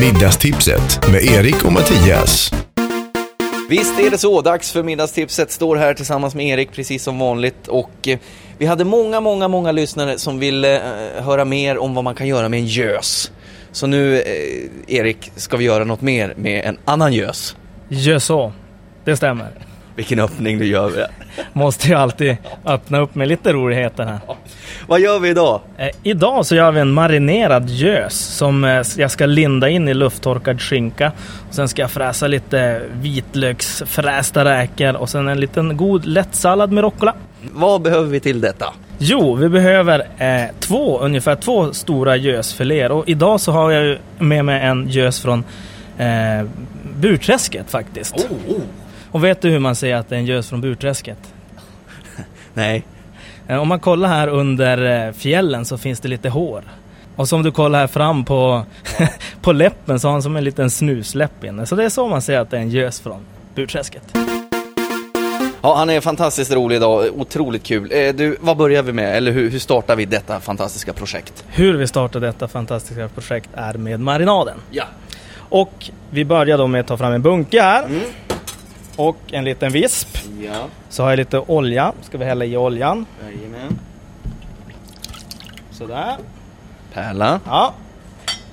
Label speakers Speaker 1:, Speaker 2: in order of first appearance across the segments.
Speaker 1: Middagstipset med Erik och Mattias.
Speaker 2: Visst är det så, dags för middagstipset. Står här tillsammans med Erik precis som vanligt. Och eh, vi hade många, många, många lyssnare som ville eh, höra mer om vad man kan göra med en gös. Så nu, eh, Erik, ska vi göra något mer med en annan gös.
Speaker 3: Gör så. Det stämmer.
Speaker 2: Vilken öppning du gör. med.
Speaker 3: Måste ju alltid öppna upp med lite roligheter här.
Speaker 2: Vad gör vi idag?
Speaker 3: Eh, idag så gör vi en marinerad gös som eh, jag ska linda in i lufttorkad skinka. Och sen ska jag fräsa lite vitlöksfrästa räkor och sen en liten god lätt sallad med rucola.
Speaker 2: Vad behöver vi till detta?
Speaker 3: Jo, vi behöver eh, två, ungefär två stora gösfiléer och idag så har jag ju med mig en gös från eh, Burträsket faktiskt. Och vet du hur man säger att det är en gös från Burträsket?
Speaker 2: Nej.
Speaker 3: Eh, Om man kollar här under eh, fjällen så finns det lite hår. Och som du kollar här fram på, på läppen så har han som en liten snusläpp inne. Så det är så man ser att det är en gös från Burträsket.
Speaker 2: Ja, han är fantastiskt rolig idag. Otroligt kul. Eh, du, vad börjar vi med? Eller hur, hur startar vi detta fantastiska projekt?
Speaker 3: Hur vi startade detta fantastiska projekt är med marinaden.
Speaker 2: Ja.
Speaker 3: Och vi börjar då med att ta fram en bunke här.
Speaker 2: Mm.
Speaker 3: Och en liten visp.
Speaker 2: Ja,
Speaker 3: Så har jag lite olja. Ska vi hälla i oljan.
Speaker 2: jajamän.
Speaker 3: Sådär.
Speaker 2: Pärla.
Speaker 3: Ja.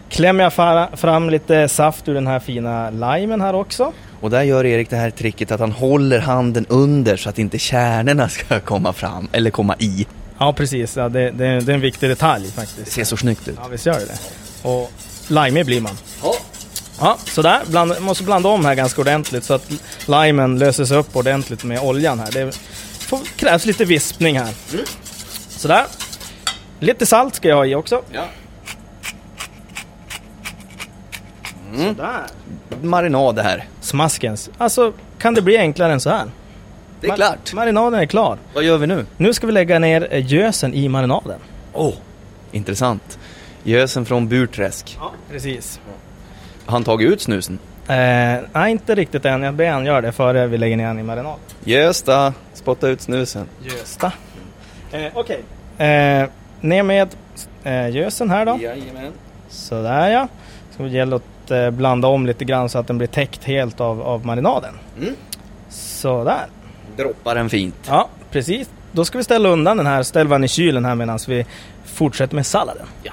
Speaker 3: Klämmer jag fa- fram lite saft ur den här fina limen här också.
Speaker 2: Och där gör Erik det här tricket att han håller handen under så att inte kärnorna ska komma fram, eller komma i.
Speaker 3: Ja precis, ja, det, det, det är en viktig detalj
Speaker 2: Det
Speaker 3: faktiskt.
Speaker 2: ser så snyggt ut.
Speaker 3: Ja visst gör det det Och limig blir man.
Speaker 2: Ja.
Speaker 3: Ja, sådär. Bland, måste blanda om här ganska ordentligt så att limen löses upp ordentligt med oljan här. Det får, krävs lite vispning här. Sådär. Lite salt ska jag ha i också.
Speaker 2: Ja.
Speaker 3: Sådär.
Speaker 2: Marinad det här.
Speaker 3: Smaskens. Alltså, kan det bli enklare än så här?
Speaker 2: Det är
Speaker 3: Ma-
Speaker 2: klart.
Speaker 3: Marinaden är klar.
Speaker 2: Vad gör vi nu?
Speaker 3: Nu ska vi lägga ner eh, gösen i marinaden.
Speaker 2: Åh, oh, intressant. Gösen från Burträsk.
Speaker 3: Ja, precis.
Speaker 2: Har han tagit ut snusen?
Speaker 3: Eh, nej, inte riktigt än. Jag ber han göra det före vi lägger ner den i marinad.
Speaker 2: Gösta, spotta ut snusen.
Speaker 3: Gösta. Eh, Okej. Eh, ner med eh, gösen här då.
Speaker 2: Jajamän.
Speaker 3: Sådär ja. Så det gäller att eh, blanda om lite grann så att den blir täckt helt av, av marinaden.
Speaker 2: Mm.
Speaker 3: Sådär.
Speaker 2: Droppar den fint.
Speaker 3: Ja, precis. Då ska vi ställa undan den här, ställa den i kylen här medan vi fortsätter med salladen.
Speaker 2: Ja.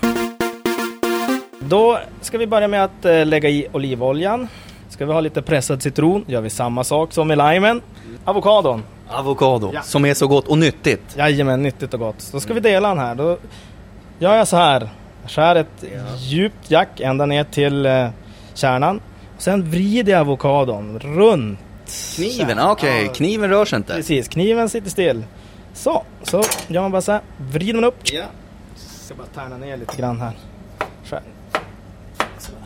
Speaker 3: Då ska vi börja med att eh, lägga i olivoljan. Ska vi ha lite pressad citron, gör vi samma sak som med limen. Avokadon,
Speaker 2: Avokado,
Speaker 3: Ja.
Speaker 2: som är så gott och nyttigt.
Speaker 3: jajamän, nyttigt och gott. Då ska vi dela den här. Då gör jag så här. Jag skär ett djupt jack ända ner till eh, kärnan. Sen vrider jag avokadon runt.
Speaker 2: Kniven, ah, okej.
Speaker 3: Ja.
Speaker 2: Kniven rör sig inte.
Speaker 3: Precis, kniven sitter still. Så, så gör man bara så här. Vrider man upp.
Speaker 2: Ja.
Speaker 3: ska bara tärna ner lite grann här. Skär. Sådär.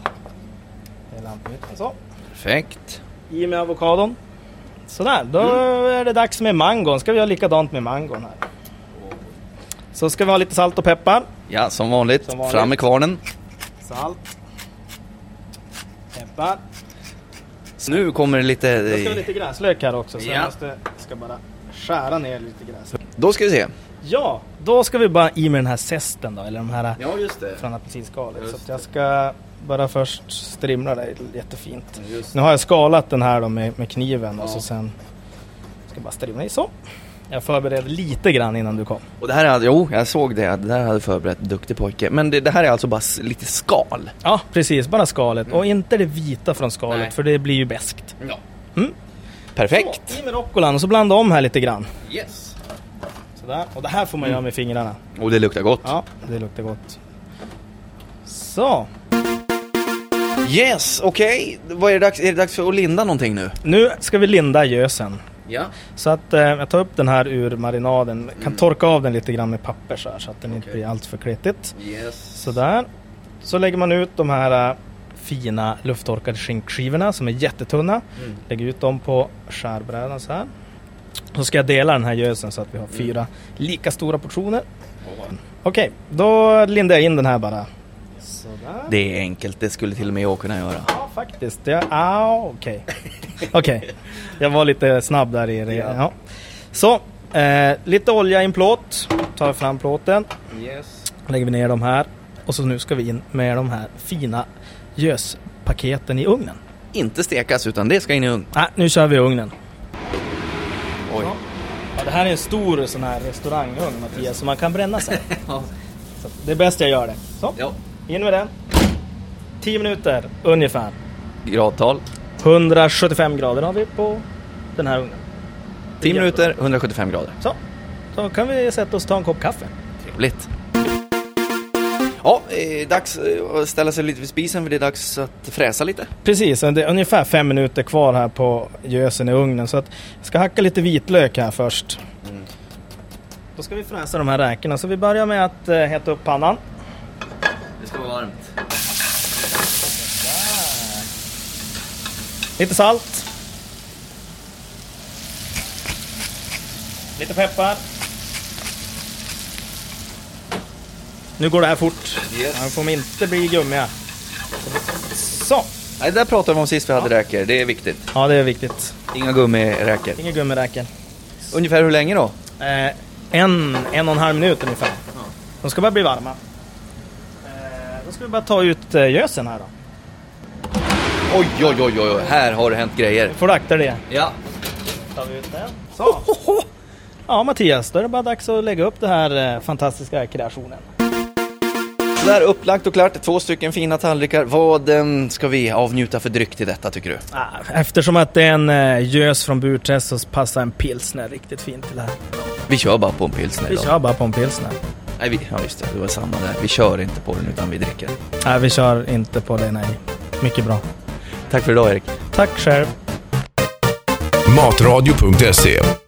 Speaker 3: Det är lampmitten så.
Speaker 2: Perfekt.
Speaker 3: I med avokadon. Sådär, då är det dags med mangon. Ska vi göra likadant med mangon här. Så ska vi ha lite salt och peppar.
Speaker 2: Ja, som vanligt.
Speaker 3: Som vanligt.
Speaker 2: Fram med kvarnen.
Speaker 3: Salt. Peppar.
Speaker 2: Så Nu kommer det lite...
Speaker 3: Då ska vi ha lite gräslök här också. Så
Speaker 2: Ja.
Speaker 3: jag måste, ska bara skära ner lite gräslök.
Speaker 2: Då ska vi se.
Speaker 3: Ja, då ska vi bara i med den här zesten då, eller de här
Speaker 2: Ja, just det.
Speaker 3: från apelsinskalet. Så
Speaker 2: Just
Speaker 3: att jag ska bara först strimla det jättefint.
Speaker 2: Just
Speaker 3: Nu har jag skalat den här då med, med kniven och
Speaker 2: Ja.
Speaker 3: så sen ska jag bara strimla i så. Jag förberedde lite grann innan du kom.
Speaker 2: Och det här är, alltså- jo, jag såg det. Det där hade förberett. Duktig pojke. Men det, det här är alltså bara s- lite skal.
Speaker 3: Ja, precis, bara skalet och inte det vita från skalet
Speaker 2: Mm. Nej.
Speaker 3: för det blir ju beskt.
Speaker 2: Ja.
Speaker 3: Mm.
Speaker 2: Perfekt.
Speaker 3: Så, I med roccolan och så blanda om här lite grann.
Speaker 2: Yes.
Speaker 3: Sådär. Och det här får man göra med fingrarna.
Speaker 2: Och det luktar gott.
Speaker 3: Mm. Ja, det luktar gott. Så,
Speaker 2: Yes, okej. Vad är det dags? Är det dags för att linda någonting nu?
Speaker 3: nu ska vi linda gösen.
Speaker 2: Ja.
Speaker 3: Så att eh, jag tar upp den här ur marinaden, kan torka av den lite grann med papper så här så att den inte
Speaker 2: Okej.
Speaker 3: blir alltför kletigt.
Speaker 2: Yes.
Speaker 3: Sådär. Så lägger man ut de här eh, fina lufttorkade skinkskivorna som är jättetunna.
Speaker 2: Mm.
Speaker 3: Lägger ut dem på skärbrädan så här. Så ska jag dela den här gösen så att vi har fyra lika stora portioner. Okej, då lindar jag in den här bara. Sådär.
Speaker 2: Det är enkelt. Det skulle till och med jag kunna göra.
Speaker 3: Ja, faktiskt. Det, ah, okej. Okej. Jag var lite snabb där i det.
Speaker 2: Ja.
Speaker 3: Ja. Så, eh, lite olja i en plåt. Tar fram plåten.
Speaker 2: Yes.
Speaker 3: Lägger vi ner de här. Och så nu ska vi in med de här fina gösbitarna paketen i ugnen.
Speaker 2: Inte stekas utan det ska in i ugn.
Speaker 3: Nej, nu kör vi i ugnen.
Speaker 2: Oj.
Speaker 3: Ja, det här är en stor sån här restaurangugn Mattias, så man kan bränna sig. Så det är bäst jag gör det. Så,
Speaker 2: Ja.
Speaker 3: in med den. 10 minuter ungefär.
Speaker 2: Gradtal.
Speaker 3: 175 grader har vi på den här ugnen.
Speaker 2: 10 minuter, 175 grader.
Speaker 3: Så, då kan vi sätta oss och ta en kopp kaffe.
Speaker 2: Trevligt. Ja, eh, dags eh, att ställa sig lite vid spisen för det är dags att fräsa lite.
Speaker 3: Precis, det är ungefär fem minuter kvar här på gösen i ugnen. Så att jag ska hacka lite vitlök här först. Mm. Då ska vi fräsa de här räkorna. Så vi börjar med att eh, hetta upp pannan.
Speaker 2: Det ska vara varmt.
Speaker 3: Lite salt. Lite peppar. Nu går det här fort.
Speaker 2: Yes.
Speaker 3: De får inte bli gummiga. Så!
Speaker 2: Nej, det där pratade vi om sist vi hade räkor. Det är viktigt.
Speaker 3: Ja, det är viktigt.
Speaker 2: Inga gummiräkor.
Speaker 3: Inga gummiräken.
Speaker 2: Ungefär hur länge då?
Speaker 3: Eh, en, en och en halv minut ungefär. De ska bara bli varma. Eh, då ska vi bara ta ut eh, gösen här då.
Speaker 2: Oj, oj, oj, oj, oj. här har det hänt grejer.
Speaker 3: Får du akta dig.
Speaker 2: Ja.
Speaker 3: Tar vi ut den. Så! Ja Mattias, då är det bara dags att lägga upp den här eh, fantastiska kreationen.
Speaker 2: Sådär upplagt och klart. Två stycken fina tallrikar. Vad eh, ska vi avnjuta för dryck till detta tycker du?
Speaker 3: Ah, Eftersom att det är en eh, gös från Burträsk så passar en pilsner riktigt fint till det här.
Speaker 2: Vi kör bara på en pilsner
Speaker 3: Vi
Speaker 2: idag.
Speaker 3: kör bara på en pilsner.
Speaker 2: Nej, vi, ja just det, det var samma där. Vi kör inte på den utan vi dricker.
Speaker 3: Nej, vi kör inte på det, nej. Mycket bra.
Speaker 2: Tack för idag Erik.
Speaker 3: Tack själv.
Speaker 1: Matradio.se